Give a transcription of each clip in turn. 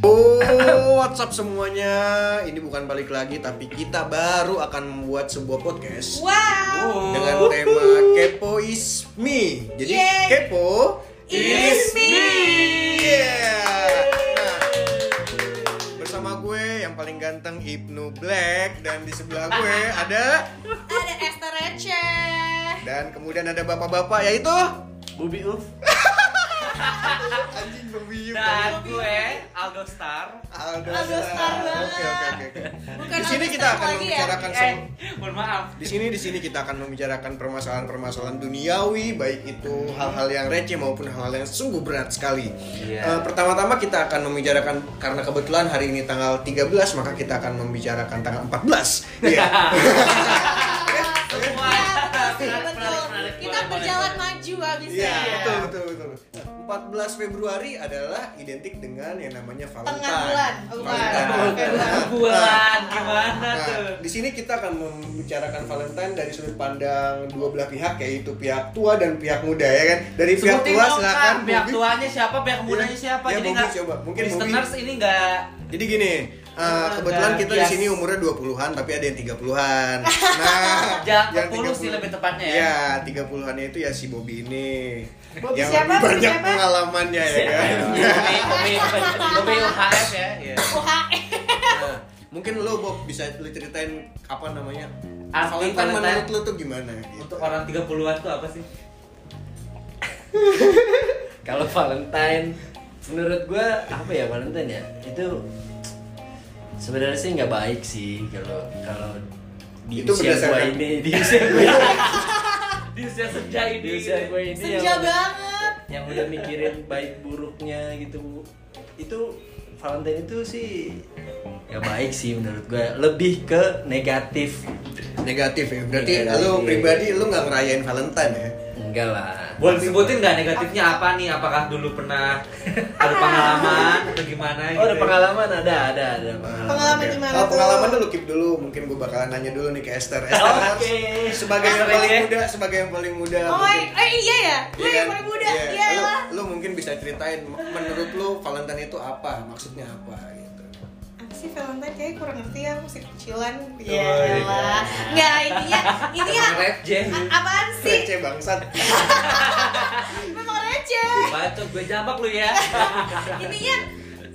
Oh, WhatsApp semuanya. Ini bukan balik lagi, tapi kita baru akan membuat sebuah podcast Wow. dengan tema kepo is me. Jadi Yeay. kepo Is me. Yeah. Nah, bersama gue yang paling ganteng Ibnu Black dan di sebelah gue ada Oh. Ada Esther Receh. dan kemudian ada bapak-bapak yaitu Bubi Uf anjing bebiu. dan Nah, gue Aldo Star. Aldo Aldo Star Star. Oke oke oke. oke. Bukan Di sini Aldo kita Star akan lagi ya? membicarakan Eh, sem- mohon maaf. Di sini di sini kita akan membicarakan permasalahan-permasalahan duniawi baik itu hal-hal yang receh maupun hal-hal yang sungguh berat sekali. Iya. Eh, pertama-tama kita akan membicarakan karena kebetulan hari ini tanggal 13 maka kita akan membicarakan tanggal 14. Iya. Semua. Iya, Menarik, betul. menarik, Kita menarik, berjalan menarik. maju ya. Iya, habisnya. betul betul betul. 14 Februari adalah identik dengan yang namanya Valentine. Tengah bulan. Oh, bukan. Valentine. Bukan. Nah, Bulan gimana tuh? Nah, di sini kita akan membicarakan Valentine dari sudut pandang dua belah pihak yaitu pihak tua dan pihak muda ya kan. Dari pihak Sebutin tua dong, Kak. silakan pihak Bobby. tuanya siapa, pihak mudanya Iya. siapa. Iya, Jadi Bobby, nggak coba. Mungkin Bobby. listeners ini nggak Jadi gini, uh, kebetulan kita di Bias. sini umurnya 20-an tapi ada yang 30-an. Nah, Ja- 40 sih lebih tepatnya ya. Iya, 30-an itu ya si Bobby ini. Bobby yang siapa? lebih Bobby banyak siapa? pengalamannya ya Siapa kan. ya? Bobby, Bobby, Bobby, Bobby UHF ya. Iya. UHE. Nah, mungkin lo Bob bisa lu ceritain apa namanya? Arti Valentine Valentine. menurut lo tuh gimana gitu. Untuk orang 30-an tuh apa sih? kalau Valentine menurut gue apa ya Valentine ya itu sebenarnya sih nggak baik sih kalau kalau di Itu usia gue berdasarkan- ini di usia gue Di usia senja di ini. usia gue ini Senja yang, udah- banget. yang udah mikirin baik buruknya gitu itu Valentine itu sih nggak baik sih menurut gue lebih ke negatif Negatif ya. Berarti Negatif. lo pribadi lo nggak ngerayain Valentine ya. enggak lah Boleh disebutin nggak negatifnya apa nih? Apakah dulu pernah ada pengalaman atau gimana oh ada gitu? pengalaman ada ada ada pengalaman Pengalaman Oke. gimana Kalau tuh? pengalaman dulu keep dulu, mungkin gue bakalan nanya dulu nih ke Esther. Esther Oke. sebagai yang Esther paling ya. muda, sebagai yang paling muda. Oh, mungkin. eh iya ya. Gue Iya yang kan? paling muda. Iya. Iya Lu- lah. Lu, mungkin bisa ceritain menurut lu Valentine itu apa? Maksudnya apa gitu. Apa sih Valentine kayaknya kurang ngerti ya, masih kecilan Oh, iya. Iya lah Nggak, intinya Intinya Rap Jen. a- Apaan sih? Receh bangsat. Memang receh Bacot gue jambak lu ya. intinya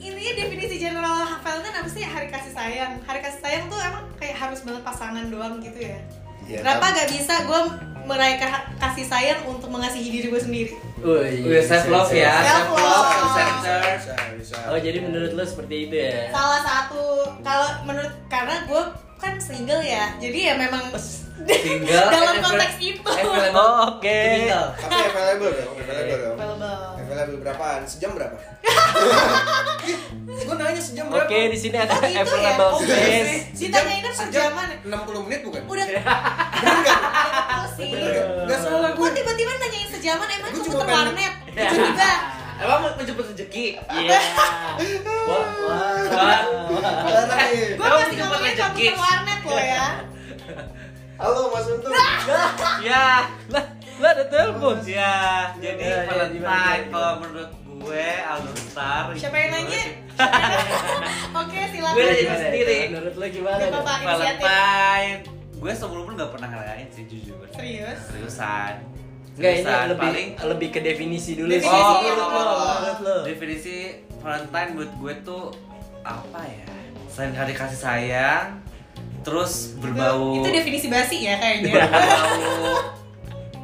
intinya definisi general Valentine apa sih hari kasih sayang hari kasih sayang tuh emang kayak harus banget pasangan doang gitu ya Iya, tapi- kenapa gak bisa gue merayakan ha- kasih sayang untuk mengasihi diri gue sendiri Gue self love ya, self love, Self-love. self center. Bisa, bisa. Oh jadi menurut lo seperti itu ya? salah satu kalau menurut karena gue kan single ya jadi ya memang Single. dalam and konteks avail- itu available Oh, oke. to mingle. Tapi available dong, available dong. Available. Oh, Available berapaan? Sejam berapa? Gue nanya sejam berapa? Oke di sini ada Oh gitu ya? available Oh, space. Ditanya ini sejam perjaman 60 menit bukan? ya? Udah Bener nggak? Betul sih Bener nggak? Nggak salah Gue gue. tiba-tiba nanyain sejaman emang Gua kamu cuma ke pengen- warnet Tiba-tiba Emang mau menjemput rezeki? Iya. Wah wah. wah. Valentine. Gue Kamu pasti cuma ngomongnya ngajak kamu gigs. ke warnet lo ya Halo Mas Untung. Ya. Lah lah ada telepon. Ya, jadi Iya, iya, gimana, Valentine gimana? kalau menurut gue Aldo Star. Siapa yang nanya? Oke silakan. Gue Gimana, nanya gimana, sendiri. Menurut lo gimana? Gak apa-apa. Valentine. Gue sebelumnya nggak pernah ngerayain sih jujur. Serius? Seriusan. Enggak ini Seriusan, lebih paling lebih ke definisi dulu. Definisi sih. Oh, menurut menurut lo. lo. Menurut lo. definisi Valentine buat gue tuh apa ya selain kali kasih sayang terus berbau Itu definisi basi ya kayaknya. berbau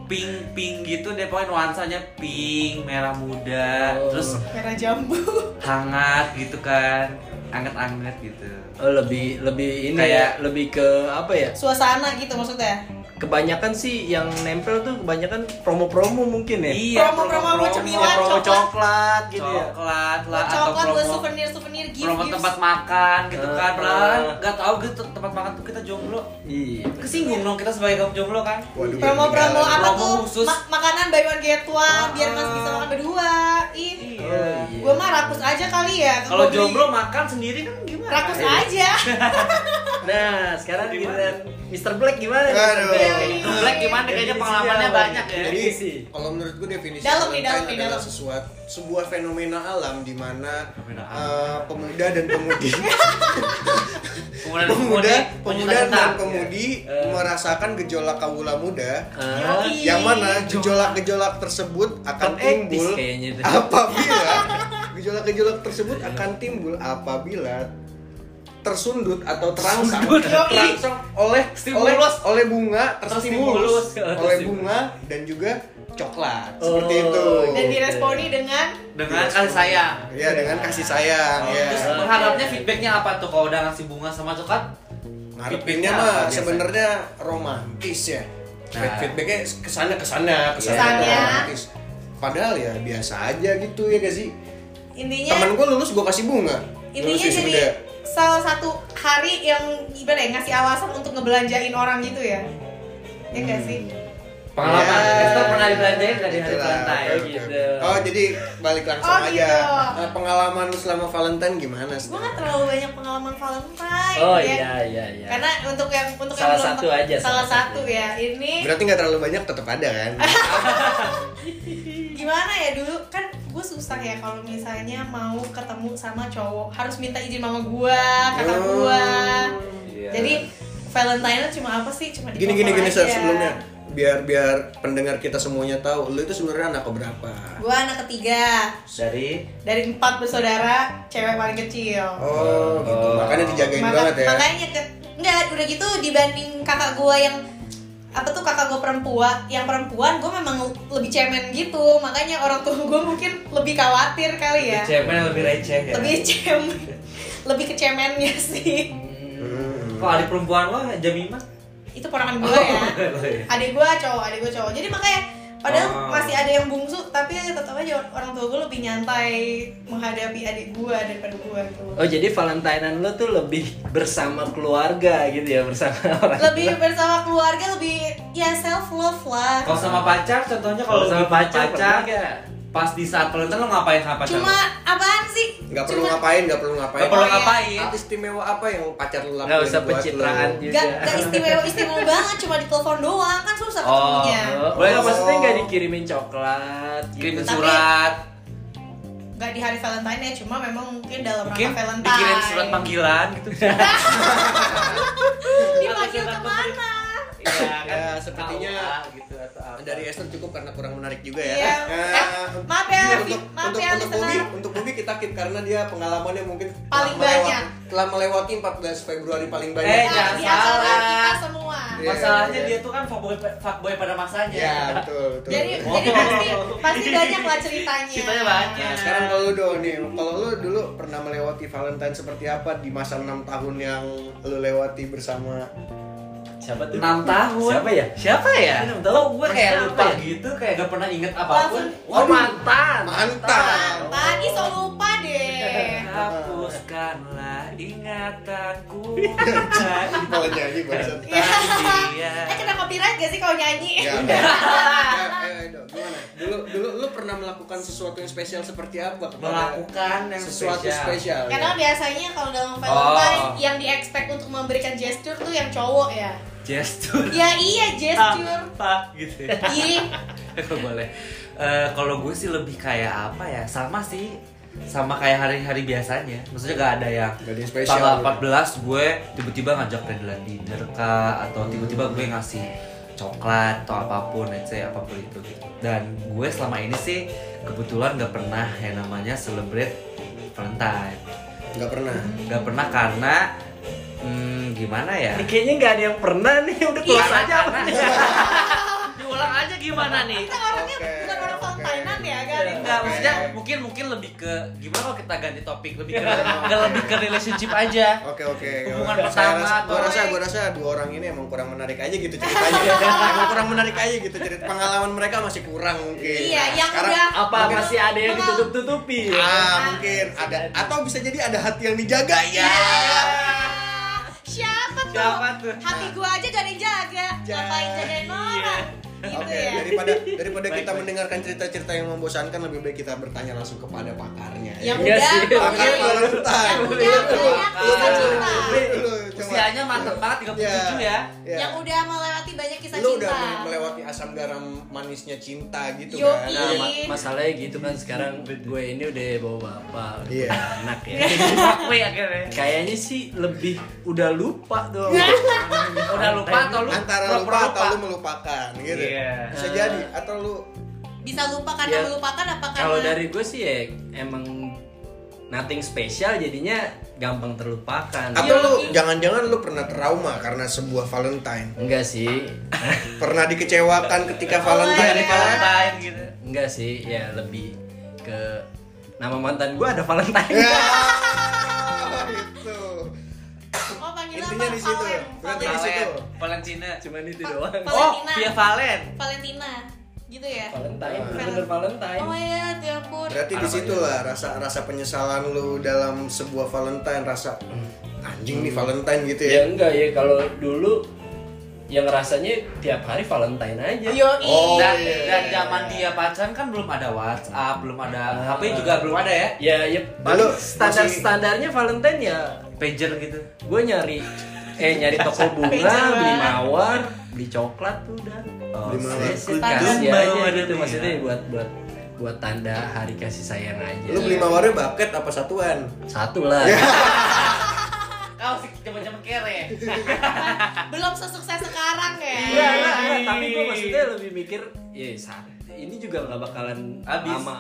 pink pink gitu deh pokoknya nuansanya pink merah muda Oh. terus Merah jambu. hangat gitu kan anget-anget gitu Oh, lebih lebih ini Kayak- ya, lebih ke apa ya? Suasana gitu maksudnya. Kebanyakan sih yang nempel tuh kebanyakan promo-promo mungkin ya. Eh, Iya, Promo-promo cemilan, Ya, promo coklat. coklat gitu ya. coklat lah atau Coklat buat promo souvenir souvenir gift. promo gifts. tempat makan gitu Eh, kan padahal eh. nggak tahu gitu tempat makan tuh kita jomblo Iya. kesinggung dong kita sebagai kaum jomblo kan Waduh, Promo-promo ketinggalan. apa iya, Promo tuh? khusus. Ma- makanan buy one get one biar mas Ah. bisa makan berdua. Ih. iya Iya. Gue mah rakus aja kali ya. Gua Kalau beli- jomblo makan sendiri kan gimana? rakus aja. Nah, sekarang giliran Mr. Black gimana? nih, Mr. Aduh. Black? Black gimana kayaknya Iya, pengalamannya banyak ya. Jadi Definisi. kalau menurut gue definisi Dalam nih, Valentine dalam nih, adalah dalam. sesuatu sebuah fenomena alam di mana Fenomena eh, pemuda dan pemudi Kemudian pemuda Iya. pemuda dan pemuda pemudi Eh. merasakan gejolak kawula muda Ah, Yoi. yang mana gejolak-gejolak tersebut akan Open actis timbul kayaknya itu. apabila gejolak-gejolak tersebut akan timbul apabila tersundut atau terangsang terangsang oleh oleh Stimulus. oleh bunga Stimulus. terstimulus oleh bunga dan juga coklat Oh. seperti itu Dan diresponi dengan dengan kasih sayang. ya dengan kasih sayang ya Terus berharapnya feedbacknya apa tuh kalau udah ngasih bunga sama coklat? ngarepinnya feedbacknya mah apa biasanya? sebenarnya romantis ya Feed- feedbacknya kesana kesana kesana Kesannya. romantis padahal ya biasa aja gitu ya gak sih intinya Temen gue lulus gue kasih bunga. intinya Lulus Iya. jadi wisuda. salah satu hari yang gimana ya ngasih alasan untuk ngebelanjain orang gitu ya ya Hmm. nggak sih Pengalaman, Ya, Esther pernah dibelanjain nggak di hari itulah, Valentine Gitu oke, oke. gitu? Oh jadi balik langsung Oh, aja. gitu. Eh, pengalaman lu selama Valentine gimana sih? gue nggak terlalu banyak pengalaman Valentine Oh ya. iya iya iya. karena untuk yang untuk yang Salah belum- satu aja, salah salah satu satu. ya ini Berarti nggak terlalu banyak tetap ada kan? gimana ya dulu kan gue susah ya kalau misalnya mau ketemu sama cowok harus minta izin mama gue Oh. kakak gue jadi Valentine cuma apa sih cuma di Gini gini gini telepon Sar, aja. sebelumnya biar biar pendengar kita semuanya tahu lu itu sebenarnya anak keberapa? gue anak ketiga Dari dari empat bersaudara cewek paling kecil Oh, gitu. Oh. Makanya dijagain Maka- banget ya. makanya ke, enggak udah gitu dibanding kakak gue yang apa tuh kakak gue perempuan yang perempuan gue memang lebih cemen gitu makanya orang tua gue mungkin lebih khawatir kali ya cemen lebih receh ya. lebih cemen lebih ke cemennya sih Hmm. Kok adik perempuan lo Jamimah? itu ponakan gue ya Oh, iya. adik gue cowok adik gue cowok jadi makanya padahal Oh. masih ada yang bungsu tapi tetap aja orang tua gue lebih nyantai menghadapi adik gue daripada gitu. gue tuh iya. Oh jadi Valentinean lo tuh lebih bersama keluarga gitu ya bersama orang. lebih bersama keluarga lebih ya self love lah Kalau sama pacar contohnya kalau Oh, sama lagi pacar, pacar pernah nggak? pas di saat Valentine lo ngapain sama pacar? cuma apaan sih Nggak perlu Cuma- ngapain, nggak perlu ngapain. Gak Oh, perlu iya. ngapain. Hal istimewa apa yang pacar lu lakuin? Nggak usah buat lu? pencitraan juga. kan? Gak, gak istimewa istimewa banget, cuma di telepon doang kan susah Oh, ketemunya. Oh, Boleh. nggak, maksudnya nggak dikirimin coklat? gitu? Kirim Tapi- surat. Gak di hari Valentine ya, cuma memang mungkin dalam Mungkin rangka Valentine. dikirim surat panggilan gitu. Dipanggil Surat kemana? Iya Ya, sepertinya KUA gitu atau apa. dari Esther cukup karena kurang menarik juga ya. Iya. Eh, Eh, maaf ya, iya, Vi- untuk maaf untuk, ya, untuk listener. Bobby, untuk Bobby kita keep karena dia pengalamannya mungkin Paling telah melewati- banyak. Telah melewati 14 Februari paling banyak. Eh, Nah, jangan di acara salah. kita semua. Iya, Masalahnya iya. dia tuh kan fuckboy, fuckboy pada masanya. Ya, betul, betul. Jadi, Oh. jadi pasti pasti banyak lah ceritanya. Ceritanya banyak. Nah, sekarang kalau lu dong nih, kalau lu dulu pernah melewati Valentine seperti apa di masa 6 tahun yang lu lewati bersama Siapa tuh? 6 tahun. Siapa ya? Siapa ya? Enam tahun. Lo gue kayak Kenapa lupa ya? gitu, kayak gak pernah inget apapun. Langsung- Oh Waduh. mantan. mantan? Tadi so lupa deh. Hapuskanlah ingatanku dari Kalau nyanyi barusan. Iya. dia. Eh kena copyright gak sih kalau nyanyi? Ya, udah. Eh, eh, Dok, gimana? Dulu dulu lu pernah melakukan sesuatu yang spesial seperti apa? kepada- Melakukan yang sesuatu spesial. ya? Karena biasanya kalau dalam Oh. Valentine yang di expect untuk memberikan gesture tuh yang cowok ya. Gestur Ya iya Ah. gesture. apa gitu ya. Ih, Kalau boleh. Eh, kalau gue sih lebih kayak apa ya? Sama sih sama kayak hari-hari biasanya. Maksudnya gak ada yang Gak ada yang spesial. Tanggal 14 gue tiba-tiba ngajak Redlan dinner kah atau tiba-tiba gue ngasih coklat atau apapun, let's say apapun itu gitu. Dan gue selama ini sih kebetulan gak pernah yang namanya celebrate Valentine. Gak pernah. Gak pernah karena hmm, gimana ya? Ini kayaknya nggak ada yang pernah nih udah Iya. close aja. apa nih? Diulang aja gimana nih? Iya. Iya, kita orangnya Oke, bukan orang oke. Valentine ya, gak ada yang Iya. Enggak, Oke. maksudnya mungkin mungkin lebih ke gimana kalau kita ganti topik lebih ke, Iya. ke lebih ke relationship aja. Oke oke. Hubungan Saya pertama rasa, gua atau- rasa gua rasa dua orang ini emang kurang menarik aja gitu ceritanya. emang kurang menarik aja gitu cerita pengalaman mereka masih kurang mungkin. Iya, Nah, yang sekarang, udah- Apa Mungkin- masih ada yang Mungkin- ditutup-tutupi? Ah, mungkin ada atau bisa jadi ada hati yang dijaga ya. Iya. Siapa tuh? Siapa tuh? Hati gua aja gak ada yang jaga. Ja- Ngapain jagain orang? Gitu Iya. Oke, ya. daripada daripada kita mendengarkan cerita-cerita yang membosankan lebih baik kita bertanya langsung kepada pakarnya. Yang ya. Iya udah, sih. pokoknya Pakar Valentine. yang udah banyak Lu- kisah lu- cinta. lu- lu- Usianya mantep banget 37 ya. Iya. Yang udah melewati banyak kisah lu cinta. udah melewati asam garam manisnya cinta gitu Yoi. kan. Nah, Nah, ma- masalahnya gitu kan sekarang gue ini udah bawa bapak, udah Iya. punya anak ya. Diakui akhirnya. Kayaknya sih lebih udah lupa dong. Udah lupa atau lu Nah, antara lupa pura-pura atau lu melupakan gitu. Iya. Bisa jadi atau lu Bisa lupa karena Ya, melupakan apa karena Kalau dari gue sih ya emang nothing spesial jadinya gampang terlupakan. atau lu iya. jangan-jangan lu pernah trauma karena sebuah Valentine. Enggak sih, Pernah dikecewakan Oh, ketika Iya, iya. Valentine Dari ya. Valentine gitu. enggak sih, ya lebih ke nama mantan gue ada Valentine. Ya, Gitu. Oh panggilan Intinya apa? di situ. ya. Valen. Berarti Valen. di situ. Valen, Valentina. Cuman itu doang. Valentina. Oh, Iya, via Valen. Valentina. Gitu ya. Valentine, bener Valentine. Oh ya, ya ampun. Berarti di situ lah rasa rasa penyesalan lu dalam sebuah Valentine rasa "Hmm, anjing nih Valentine gitu ya. Iya. Ya enggak ya kalau dulu yang rasanya tiap hari Valentine aja. Yoi. Oh, dan iya. Ah. dan zaman dia pacaran kan belum ada WhatsApp, belum ada HP juga belum ada ya. Ya ya Lalu, standar masih- standarnya Valentine ya Pager gitu. gue nyari eh nyari toko bunga, Beja beli banget. mawar, beli coklat tuh udah. Oh, Belum ada. serius, Standar. kan? Kasih Belum aja ada gitu nih, maksudnya iya. ya. buat buat buat tanda hari kasih sayang aja. Lu Iya. beli mawarnya bucket apa satuan? Satu lah. Kau sih jaman-jaman kere. Belum sesukses sekarang ya. Iya, iya, iya. tapi gue maksudnya lebih mikir ya sa- ini juga nggak bakalan Habis. lama.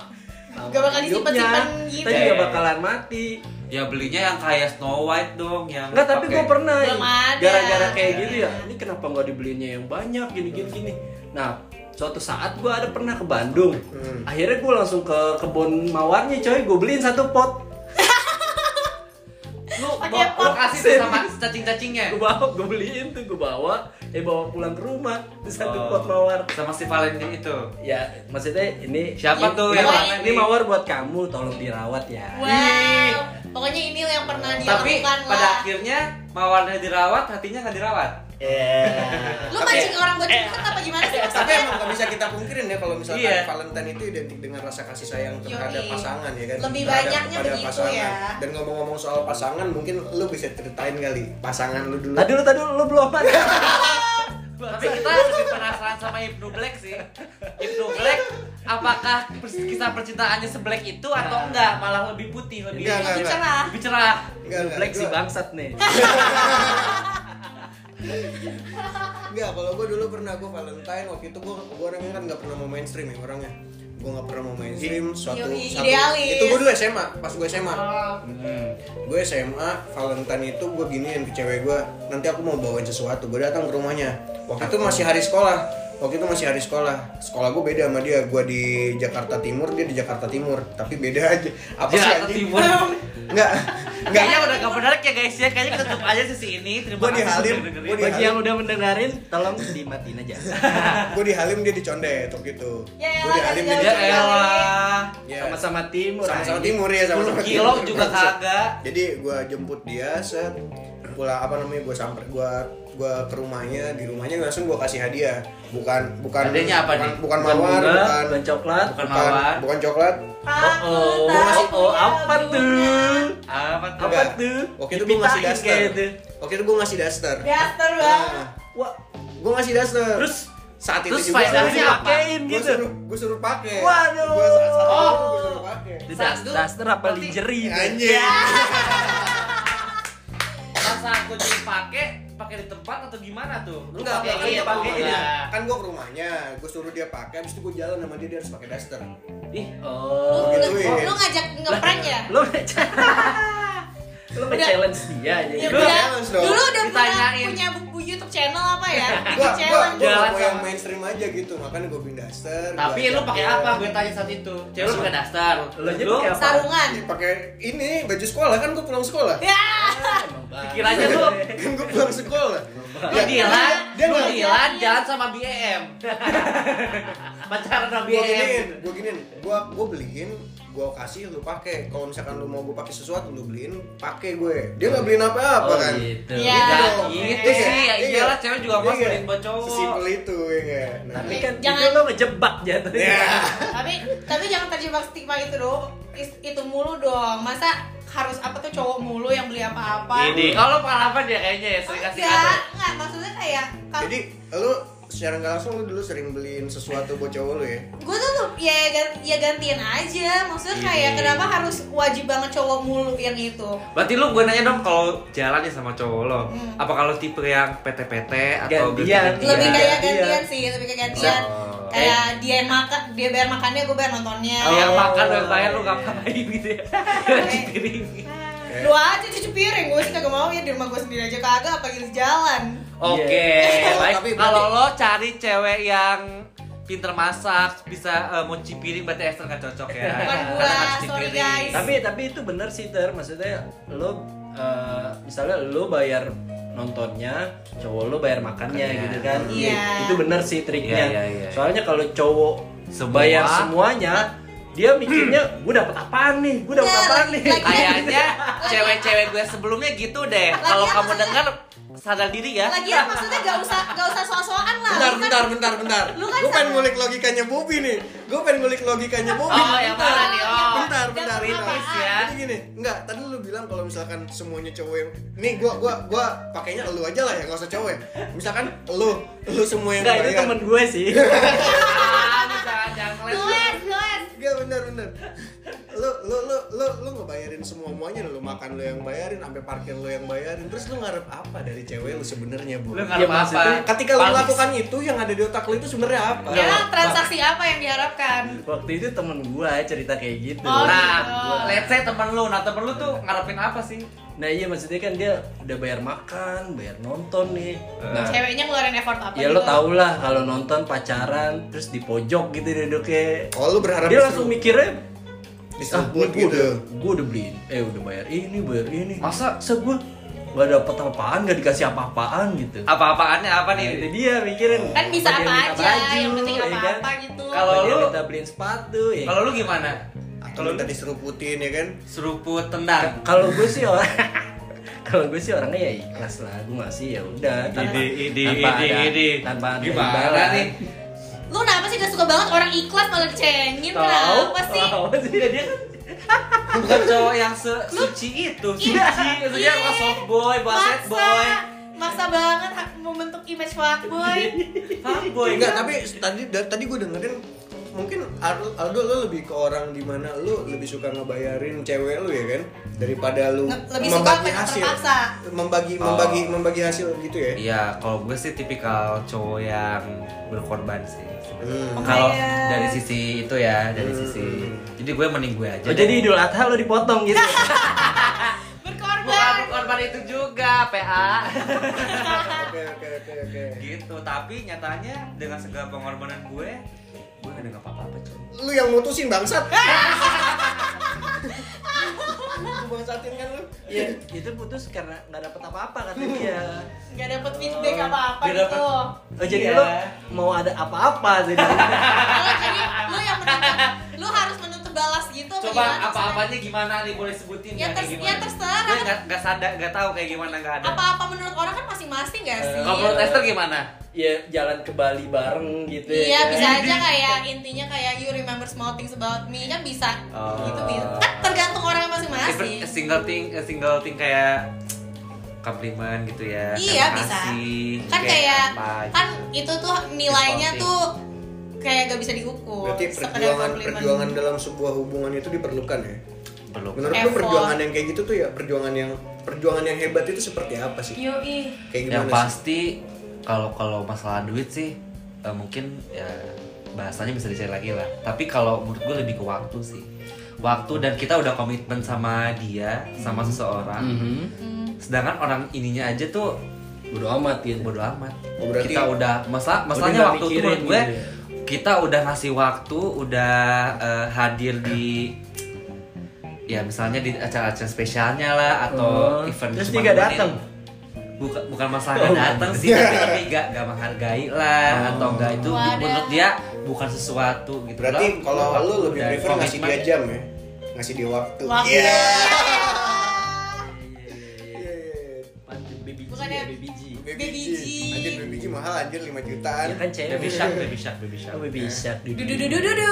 lama Gak bakal hidupnya. disimpan-simpan gitu. Kita juga bakalan mati. Ya belinya yang kayak Snow White dong, yang Enggak, tapi pakai- gue pernah Belum ada. gara-gara kayak gitu ya. Ini kenapa nggak dibeliinnya yang banyak gini gini gini. Nah, suatu saat gue ada pernah ke Bandung. Hmm. Akhirnya gue langsung ke kebun mawarnya, coy. Gue beliin satu pot. Lu Pakai bawa- lu pot. kasih tuh sama cacing-cacingnya. Gue bawa, gue beliin tuh, gue bawa, eh bawa pulang ke rumah. Terus Oh. satu pot mawar. sama si Valentine itu. Ya, maksudnya ini Siapa ini- tuh ini, yang mawar, warna ini ini? mawar buat kamu, tolong dirawat ya. Wow. Pokoknya ini yang pernah dia Tapi lakukan pada Ya, lah. akhirnya mawarnya dirawat, hatinya nggak dirawat. Yeah. Lu mancing orang buat curhat apa gimana sih Tapi maksudnya? emang gak bisa kita pungkirin ya kalau misalkan Iya. Valentine itu identik dengan rasa kasih sayang terhadap Yoi. pasangan ya kan. Lebih Terhadap- banyaknya terhadap begitu pasangan. ya. Dan ngomong-ngomong soal pasangan, mungkin lu bisa ceritain kali pasangan lu dulu. Tadi dulu, tadi dulu, lu belum apa? Tapi kita lebih penasaran sama Ibnu Black sih. Ibnu Black, apakah pers- kisah percintaannya se-black itu atau enggak? Malah lebih putih, lebih Enggak, enggak, Lebih enggak. cerah. lebih cerah. Enggak, enggak, Black si gua- bangsat nih. Enggak, kalau gue dulu pernah gue Valentine waktu itu gue gue orangnya kan nggak pernah mau mainstream ya orangnya. Gue nggak pernah mau mainstream. Suatu, Yoi, satu- idealis. Itu gue dulu SMA, pas gue SMA. Hmm. Gue SMA Valentine itu gue giniin ke cewek gue. Nanti aku mau bawain sesuatu. Gue datang ke rumahnya. Waktu itu masih hari sekolah. Waktu itu masih hari sekolah. Sekolah gue beda sama dia. Gue di Jakarta Timur, dia di Jakarta Timur. Tapi beda aja. Apa sih Jakarta anjing? iya, Timur. Enggak. Enggak. Kayaknya udah gak menarik ya guys ya. Kayaknya kita tutup aja sesi ini. Terima Gua kasih dihalim, sudah dengerin. gua di- Bagi yang udah mendengarin, tolong dimatiin aja. Gue di Halim, dia di Condet waktu itu. Ya elah, Gue di Halim, dia di kasih Ya Condet. jalan. elah. Ya. Sama-sama timur. sama-sama anjing. timur ya sama-sama 10 kilo timur. juga kagak. jadi gua jemput dia set pulang apa namanya gua samper gua gua ke rumahnya di rumahnya langsung gua kasih hadiah bukan bukan Hadiahnya apa bukan, nih? bukan Bukan mawar bunga, bukan bukan coklat. Bukan mawar. bukan coklat Aku Oh, tak oh, oh, punya apa tuh? bunga. Apa tuh? Apa Enggak. tuh? waktu itu gua ngasih Dipitain daster kayak gitu. itu. waktu itu gua ngasih daster Daster Nah, banget. Wah, gua ngasih daster terus saat itu terus juga faedahnya gua- apa? pakein gua gitu. suruh gua suruh pakai Waduh. gua saat, saat itu Oh. gua suruh pakai Itu Saat das- itu- Daster apa berarti- lingerie itu? Ya. anjing Pas aku dipakai, pakai di tempat atau gimana tuh? Lu Enggak, pakai kan ini, Iya. gua pakai ini. Kan gua ke rumahnya, gua suruh dia pakai, habis itu gua jalan sama dia dia harus pakai daster. Ih, Lu, oh. Gua lu, gituin. lu ngajak ngeprank ya? Lu Lu nge-challenge dia aja. Ya, Lu udah. challenge dong. Dulu udah pernah Ditanyain. punya bu- YouTube channel apa ya? Gua Bikin gua challenge. gua Jalan mau yang sama- mainstream aja gitu, makanya gua beli daster. Tapi lu gua ajak pakai dia. apa? Gue tanya saat itu. Cewek lu pakai daster. Lu aja Lu pakai apa? Sarungan. Ih, Iya, Pakai ini baju sekolah kan gua pulang sekolah. Ya. pikirannya Iya, lu Kan gua pulang sekolah. Ya, lu dilan, dia lu nggak- dilan jalan sama BM. Pacaran sama Gua giniin, BM. gua giniin, gua gua beliin gua kasih lu pakai kalau misalkan lu mau gua pakai sesuatu lu beliin pakai gue dia nggak beliin apa-apa Oh, kan gitu. Iya. Nah, Iya. gitu sih, ya Iya. iyalah cewek juga Iya mau nggak? beliin buat cowok. sesimpel itu ya nggak? Nah, Tapi kan Jangan. itu lo ngejebak jatuhnya. Ya. tapi tapi jangan terjebak stigma itu dong. Is- Itu mulu dong. Masa harus apa tuh cowok mulu yang beli apa-apa. Ini kalau pengalaman dia kayaknya ya sering kasih kado. Enggak, enggak maksudnya kayak kalau Jadi lu secara nggak langsung lu dulu sering beliin sesuatu buat cowok lu ya? gue tuh tuh ya gan- ya gantian aja maksudnya Ini. kayak kenapa harus wajib banget cowok mulu yang itu Berarti lu gue nanya dong kalau jalan ya sama cowok lo, Hmm. apa kalau tipe yang PT-PT atau Gantian. ganti-gantian? lebih kayak Iya. gantian sih lebih kayak gantian Oh. iya. kayak dia yang makan dia bayar makannya gue bayar nontonnya Kalau yang Oh. makan yang bayar lu ngapain gitu ya? Sendiri. Nah, dua aja cuci piring gue sih kagak mau ya di rumah gue sendiri aja kagak apa gitu jalan Oke, Iya. baik. Tapi berarti- Kalau lo cari cewek yang pinter masak, bisa eh, mau cuci piring berarti Esther gak cocok ya. Bukan gua, Karena harus cuci sorry, piring. guys. tapi tapi itu benar sih ter maksudnya lo eh, misalnya lo bayar nontonnya cowok lo bayar makannya Makannya. gitu kan Iya. itu benar sih triknya Iya, iya, iya. soalnya kalau cowok Semua. Hmm. bayar semuanya dia mikirnya gue dapat apaan nih gue dapat Bener, apaan nih Iya, lagi- Kayaknya cewek-cewek gue sebelumnya gitu deh. Kalau Lagian kamu maksudnya- dengar sadar diri Iya. ya. lagian maksudnya gak usah gak usah soal-soalan lah Bentar, Lu kan- bentar, bentar, bentar. Lu kan gue pengen sama- ngulik logikanya Bobby nih. Gue pengen ngulik logikanya Oh, Bobby. ya, yang Bentar. mana nih? Oh. Bentar, Jangan bentar, bentar. apa-apaan. Ya. ah? Jadi gini, enggak, tadi lu bilang kalau misalkan semuanya cowok yang Nih, gua gua gua pakainya lu aja lah ya, enggak usah cowok ya. Misalkan lu, lu semua yang Enggak, itu Iya. bayar. temen gue sih Ah, jangan jangan ngeles lu. Gelas, gelas. Enggak bener bener. Lu lu lu lu lu ngebayarin semua muanya lu makan lu yang bayarin, sampai parkir lu yang bayarin. Terus lu ngarep apa dari cewek lu sebenarnya, Bu? Lu ngarep Ya, apa? maksudnya Ketika lu Panis. melakukan itu yang ada di otak lu itu sebenarnya apa? Iya. Ya, transaksi apa yang diharapkan? waktu itu temen gue cerita kayak gitu Oh, Nah, gitu. let's say temen lu, nah temen lu tuh ngarepin apa sih? nah iya maksudnya kan dia udah bayar makan bayar nonton nih Eh. nah Ceweknya ngeluarin effort apa? ya lo gitu? tau lah kalau nonton pacaran terus di pojok gitu duduknya Oh, lu berharap dia disuruh- langsung mikirnya diseruput gue gitu. udah, gue udah beliin eh udah bayar ini bayar ini Masa? se gue gak dapet apa-apaan gak dikasih apa-apaan gitu Ah, Apa-apaannya apa iya, nih? Nah, itu dia mikirin Kan bisa Bagian apa minta aja, yang penting ya kan? apa-apa gitu. Kalau Bagian lu- minta beliin sepatu ya Kalau lu gimana? Atau minta diseruputin ya kan? Seruput tendang. kalau gue sih orang kalau gue sih orangnya ya ikhlas lah gue ngasih ya udah tanpa- Ide, ide, tanpa ide, ada- ide. tanpa ada Gimana imbalan. nih? Lu kenapa sih gak suka banget orang ikhlas malah dicengin? Tahu, Kenapa sih? tahu sih dia kan Bukan cowok yang se- suci itu, suci. Maksudnya Iya. bukan soft boy, basket boy, Maksa banget ha- membentuk image fuckboy. fuckboy. iya. Enggak, tapi tadi da- tadi gue dengerin mungkin Ar- Aldo lo lebih ke orang dimana lo lebih suka ngebayarin cewek lo ya kan daripada lo Nge- lebih suka membagi apa yang hasil terpaksa. membagi Oh. membagi membagi hasil gitu ya Iya, kalau gue sih tipikal cowok yang berkorban sih. sebenarnya. Hmm. Kalau Oh my God. dari sisi itu ya, dari Hmm. sisi. Jadi gue mending gue aja. oh, deh. jadi idul adha lo dipotong gitu Bukan Berkorban. korban itu juga, PA. Iya. oke oke oke oke gitu, tapi nyatanya dengan segala pengorbanan gue, gue gak ada apa-apa cuy. lu yang mutusin bangsat Lu bangsatin kan lu ya itu putus karena nggak dapet apa-apa kata dia Gak dapet feedback apa-apa Gak gitu. oh jadi Iya. lo mau ada apa-apa jadi Kalau jadi lu yang menuntut, lu harus menuntut balas gitu. apa Coba gimana? apa-apanya gimana nih boleh sebutin nggak Ya, kayak ters- gimana? ya terserah. Gue nggak nggak sadar nggak tahu kayak gimana nggak ada. Apa-apa menurut orang kan masing-masing gak sih? Kalau menurut Esther gimana? ya jalan ke Bali bareng gitu Iya kan. bisa aja kayak intinya kayak you remember small things about me kan bisa Oh. gitu bisa kan tergantung orang Seperti masing-masing Single thing, eh, single thing kayak komplimen gitu Iya, ya. terima bisa. kasih, kan kayak apa kan gitu. itu tuh nilainya Small tuh kayak gak bisa diukur berarti sekedar perjuangan komplimen. perjuangan dalam sebuah hubungan itu diperlukan ya gitu. belum. menurut lu Effort. perjuangan yang kayak gitu tuh ya perjuangan yang perjuangan yang hebat itu seperti apa sih Yoi. kayak gimana yang pasti kalau kalau masalah duit sih eh, mungkin ya bahasanya bisa dicari lagi lah tapi kalau menurut gue lebih ke waktu sih waktu dan kita udah komitmen sama dia Hmm. sama seseorang Mhm. sedangkan orang ininya aja tuh bodo amat gitu Iya, bodo amat Oh, berarti- kita udah masalah nggak masalahnya waktu itu mikirin menurut gue gitu ya. kita udah ngasih waktu udah eh, hadir di ya misalnya di acara-acara spesialnya lah atau Oh, event terus cuma dia nggak nemenin. datang? bukan bukan masalah nggak datang sih tapi lebih nggak nggak menghargai lah atau nggak itu Wadah. menurut dia bukan sesuatu gitu Berarti Lah, kalau waktu lu lebih dan prefer ngasih dia komitmen. jam ya? Ngasih dia waktu. Waktu. Iya. Panjang baby G, Bukannya- ya, baby G. Baby G. Anjir baby G mahal anjir 5 jutaan. Ya kan cewek baby shark baby shark baby shark Oh, baby shark. Dudududududu.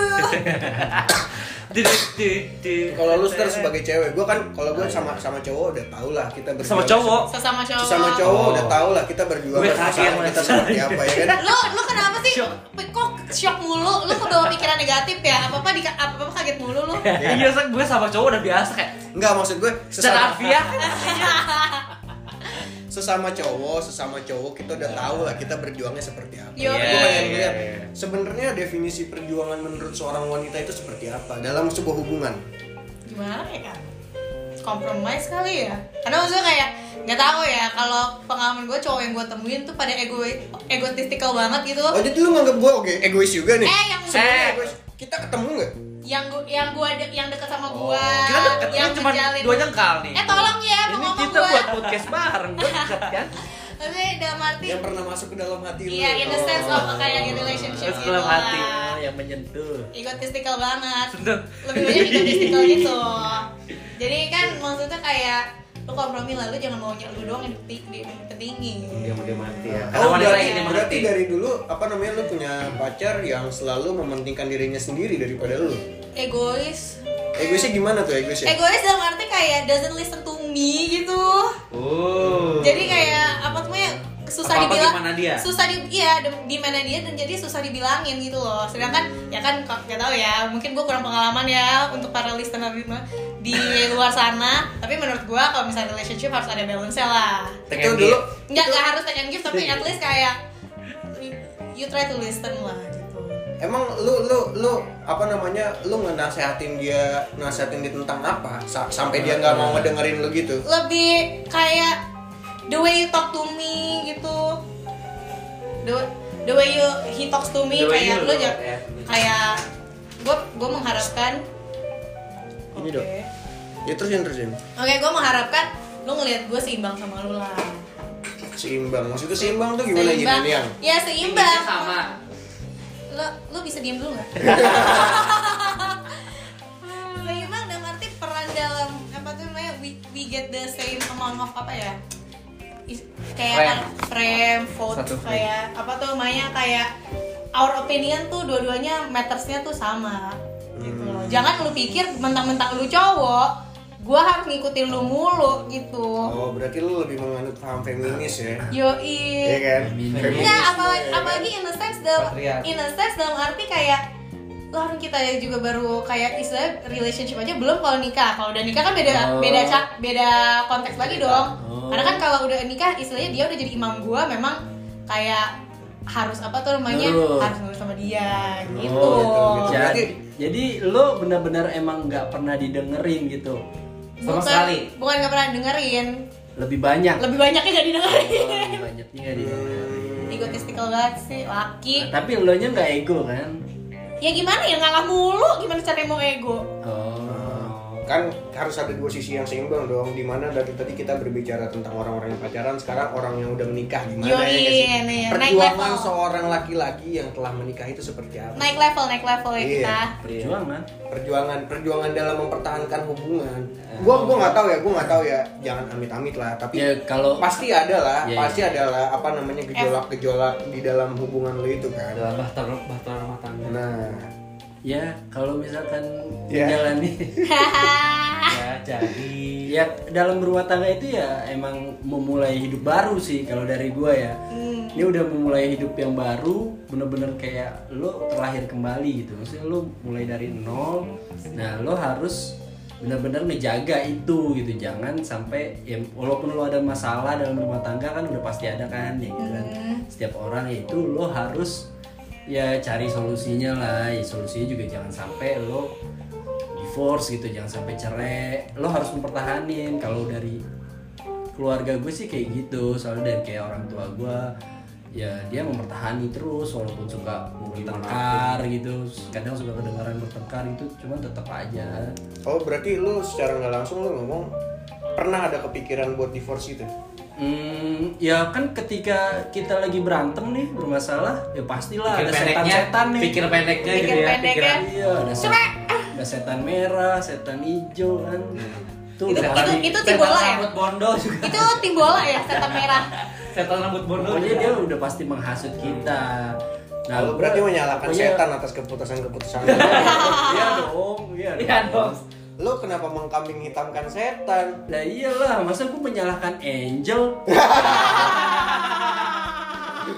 Kalau lu Star, sebagai cewek, gua kan kalau gua sama sama cowok udah tau lah kita berdua sama cowok sesama cowok sama cowok Oh. udah tau lah kita berdua Gue kaget berpasangan kita sama cowok. seperti apa ya kan lu lu kenapa sih kok shock mulu lu kebawa pikiran negatif ya apa apa di apa apa kaget mulu lu Iya, Sak, gue sama cowok udah biasa kayak Enggak maksud gue secara sesama, harfiah sesama cowok sesama cowok kita Ya. udah tahu lah kita berjuangnya seperti apa. Yo. Gue Iya, pengen iya, lihat iya. sebenarnya definisi perjuangan menurut seorang wanita itu seperti apa dalam sebuah hubungan. gimana ya kompromis kali ya karena maksudnya kayak nggak tahu ya kalau pengalaman gue cowok yang gue temuin tuh pada ego egotistical banget gitu Oh jadi lu nganggap gue oke egois juga nih. eh yang Sebenarnya egois. Kita ketemu nggak? yang gue yang gue de- yang deket sama gue kita deket yang kan cuma menjalin- dua jengkal nih. eh tolong ya mau Ini ngomong kita gue buat podcast bareng, gue dekat kan? tapi dalam arti Yang pernah masuk ke dalam hati lu. Oh. iya in the sense of kayak relationship Terus gitu dalam hati. lah. Ah, yang menyentuh. egotistical banget Sedang. lebih banyak egotistical gitu jadi kan maksudnya kayak lu kompromi lah lu jangan mau lu doang yang di, di, petinggi udah mati ya Karena Oh, wanita berarti, ingin mengerti. berarti dari dulu apa namanya lu punya pacar yang selalu mementingkan dirinya sendiri daripada lu. egois Egoisnya gimana tuh egoisnya? egois dalam arti kayak doesn't listen to me gitu oh jadi kayak apa tuh ya susah Apa-apa dibilang gimana dia? susah di iya di, di mana dia dan jadi susah dibilangin gitu loh sedangkan ya kan kok nggak tahu ya mungkin gue kurang pengalaman ya untuk para listener di, di luar sana tapi menurut gue kalau misalnya relationship harus ada balance lah Itu dulu Nggak, nggak harus take and give, tapi Iya, at least kayak you try to listen lah gitu. Emang lu lu lu apa namanya lu ngenasehatin dia nasehatin dia tentang apa Sa- sampai dia nggak mau ngedengerin lu gitu? Lebih kayak the way you talk to me gitu. The, the way you he talks to me The way kayak you- lu jangan ya. kayak gue gue mengharapkan Ini Oke. dong. Ya terusin terusin. Oke, gue mengharapkan lu ngelihat gue seimbang sama lu lah. Seimbang. Maksudnya seimbang tuh gimana Yin seimbang. dan yang? Ya seimbang. sama. lo lo bisa diem dulu nggak? Seimbang dalam arti peran dalam apa tuh namanya we, we get the same amount of apa ya Is- kayak frame, frame vote Satu frame. kayak apa tuh namanya kayak our opinion tuh dua-duanya mattersnya tuh sama gitu loh. Hmm. Jangan lu pikir mentang-mentang lu cowok gua harus ngikutin lu mulu gitu. Oh berarti lu lebih menganut paham feminis ya? Yoi. Iya kan? Enggak, apalagi, apalagi in the sense dalam Patriarki. in the sense dalam arti kayak lah kita juga baru kayak istilah relationship aja belum kalau nikah. Kalau udah nikah kan beda Oh. beda cak beda konteks lagi dong. Oh. Karena kan kalau udah nikah istilahnya dia udah jadi imam gua memang kayak harus apa tuh namanya Nurut. harus nurut sama dia gitu. gitu, gitu. Jadi, Berarti- Oh, jadi lo benar-benar emang nggak pernah didengerin gitu. Sama bukan, sekali. Bukan nggak pernah dengerin. Lebih banyak. Lebih banyaknya gak didengerin. Oh, lebih banyaknya nggak didengerin. Egotistical banget sih laki. Nah, tapi lo nya nggak ego kan? Ya gimana ya ngalah mulu gimana caranya mau ego? Oh. kan harus ada dua sisi yang seimbang dong dimana dari tadi kita berbicara tentang orang-orang yang pacaran sekarang orang yang udah menikah gimana Yoi, ya nggak sih? iya, iya. Naik perjuangan level. seorang laki-laki yang telah menikah itu seperti apa naik level naik level ya Iya. kita Perjuangan. perjuangan perjuangan dalam mempertahankan hubungan gua gua nggak tahu ya gua nggak tahu ya jangan amit-amit lah tapi Ya kalau Oh, pasti ada lah Iya, pasti ada lah apa namanya gejolak-gejolak di dalam hubungan lo itu kan dalam bahtera bahtera rumah tangga nah ya kalau misalkan Iya. Ya. menjalani ya jadi ya dalam berumah tangga itu ya emang memulai hidup baru sih kalau dari gua ya ini udah memulai hidup yang baru bener-bener kayak lo terlahir kembali gitu maksudnya lo mulai dari nol nah lo harus bener-bener ngejaga itu gitu jangan sampai ya walaupun lo ada masalah dalam rumah tangga kan udah pasti ada kan ya gitu kan setiap orang ya itu lo harus ya cari solusinya lah ya solusinya juga jangan sampai lo divorce gitu jangan sampai cerai lo harus mempertahanin kalau dari keluarga gue sih kayak gitu soalnya dari kayak orang tua gue ya dia mempertahani terus walaupun suka bertengkar gitu kadang suka kedengaran bertengkar itu cuman tetap aja oh berarti lu secara nggak langsung lu ngomong pernah ada kepikiran buat divorce gitu? itu Hmm, ya kan ketika kita lagi berantem nih bermasalah ya pastilah pikir ada pendeknya setan-setan nih pikir pendeknya Pikir gitu ya pendek ya. pikiran iya ada setan, ada setan merah setan hijau kan Hmm. tuh Itu- udah itu- pasti. itu tim bola Setan ya? rambut bondo juga Iya. itu tim bola ya setan merah setan rambut bondo Pokoknya juga. dia udah pasti menghasut kita. Nah, iya. Nah, lu berarti menyalahkan pokoknya- setan atas keputusan-keputusan lu. Iya dong, iya dong. Iya dong. Lu kenapa mengkambing hitamkan setan? Lah iyalah, masa gue menyalahkan Angel?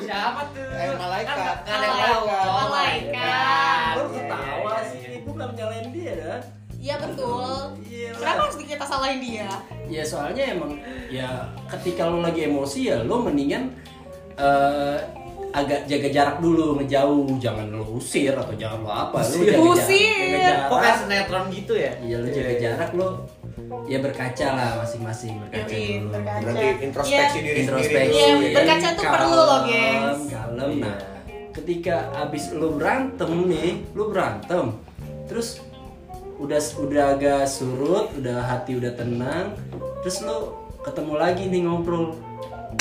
Siapa tuh? Eh, malaikat. Kan nggak- nggak ada yang tahu. Malaikat. Malaikat. Lu iya, ketawa sih, gue gak menyalahin dia dah. Iya betul. Iya. Kenapa harus kita salahin dia? Ya soalnya emang ya ketika lo lagi emosi ya lo mendingan eh, agak jaga jarak dulu ngejauh jangan lo usir atau jangan lo apa lo jaga jarak, Usir. jaga iya. Kok kayak jarak sinetron gitu ya? iya lo jaga jarak lo ya berkaca lah masing-masing berkaca Jadi, dulu berkaca. Berarti introspeksi Iya. diri introspeksi Iya, sendiri. dulu ya. berkaca tuh perlu lo, gengs. Kalem, kan? kalem nah ketika abis lo berantem nih lo berantem terus udah udah agak surut udah hati udah tenang terus lo ketemu lagi nih ngobrol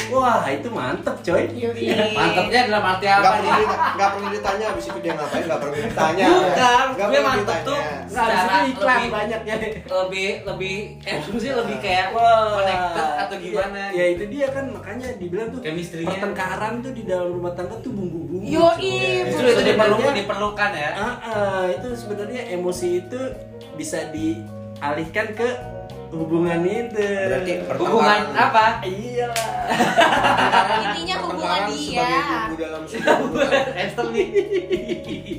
wah itu mantep coy iya. Yuri. Mantapnya dalam arti apa Iya. nih? Gak perlu di- nggak perlu ditanya abis itu dia ngapain nggak perlu ditanya. Bukan, Nggak gue perlu mantep ditanya. tuh nah, abis itu secara iklan lebih- banyaknya lebih lebih eh, eksklusif lebih kayak Wah. connected atau gimana? ya, ya itu dia kan makanya dibilang tuh Chemistry-nya. pertengkaran tuh di dalam rumah tangga tuh bumbu-bumbu Yoi, coy. Justru itu diperlukan, Sebenarnya- diperlukan ya. Ah, ah, itu sebenarnya emosi itu bisa dialihkan ke hubungan itu. Berarti pertengkaran- Hubungan apa? iya. Intinya hubungan pertengkaran dia. Nah, sebagai bumbu dalam sebuah hubungan. Esther nih.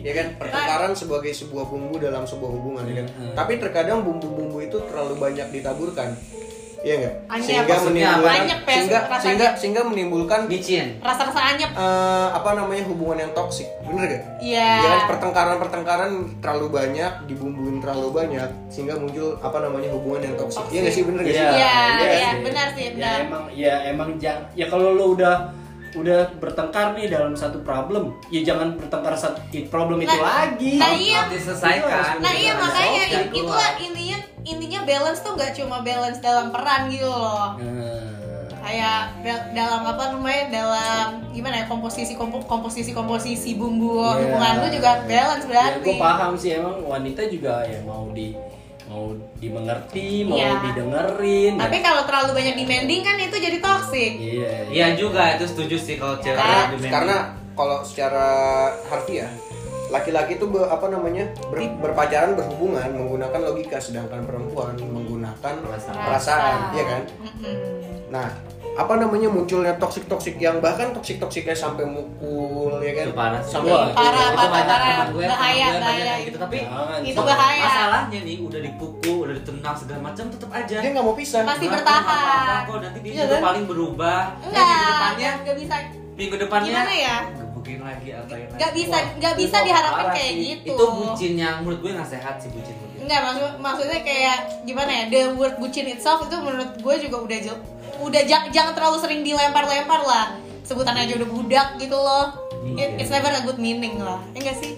ya kan pertengkaran sebagai sebuah bumbu dalam sebuah hubungan ya kan Hmm. tapi terkadang bumbu-bumbu itu terlalu banyak ditaburkan Iya nggak Anyep. sehingga Maksudnya apa? menimbulkan Anyep ya, sehingga rasanya. sehingga sehingga menimbulkan Micin. Rasa-rasa anyep. eh, apa namanya hubungan yang toksik bener gak Iya. Ya kan pertengkaran-pertengkaran terlalu banyak, dibumbuin terlalu banyak sehingga muncul apa namanya hubungan yang toksik. Iya nggak sih bener nggak sih? Iya, iya iya, sih. benar sih, Ya benar. emang ya emang jang- ya kalau lo udah udah bertengkar nih dalam satu problem, ya jangan bertengkar satu problem itu Nah, lagi. nah iya. Harus diselesaikan. Nah iya Ada makanya soft dan i- itulah intinya intinya balance tuh nggak cuma balance dalam peran gitu loh. Nah, Kayak da- dalam apa namanya dalam gimana ya komposisi kompo- komposisi komposisi bumbu Iya. ya. hubungan lu juga harus balance Ya, berarti. gue paham sih emang wanita juga ya mau di mau dimengerti, mau Iya. didengerin. Tapi kalau terlalu banyak demanding kan itu jadi toxic. Iya. Iya juga itu setuju sih kalau cewek Karena- lebih manly. Karena kalau secara harfiah laki-laki itu ber- apa namanya ber- berpacaran berhubungan menggunakan logika sedangkan perempuan menggunakan perasaan, ya kan Mm-mm. nah apa namanya munculnya toksik toksik yang bahkan toksik toksiknya sampai mukul ya kan Itu parah sih. sampai iya. Wah, Parah, parah, itu banyak parah. teman gue, teman Bahaya, gue banyak bahaya. yang gitu tapi Jangan, Itu Sob. bahaya. masalahnya nih udah dipukul udah ditendang segala macam tetap aja dia nggak mau pisah Pasti Nggak, bertahan. nggak apa-apa kok nanti dia Iya juga kan? paling berubah Enggak, minggu depannya nggak bisa. minggu depannya Gimana ya? gebukin lagi apa lagi Nggak bisa, Wah, nggak bisa itu diharapkan parah kayak sih. gitu. itu bucin yang menurut gue nggak sehat sih bucin bucin Enggak, maksud, maksudnya kayak gimana ya? The word bucin itself itu menurut gue juga udah jel- udah ja- jangan terlalu sering dilempar-lempar lah. Sebutan aja udah budak gitu loh. It- it's never a good meaning lah. Ya enggak sih?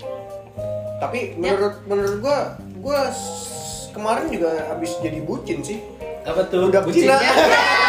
tapi menurut menurut gua gua s- kemarin juga habis jadi bucin sih Apa tuh? budak Cina bucinnya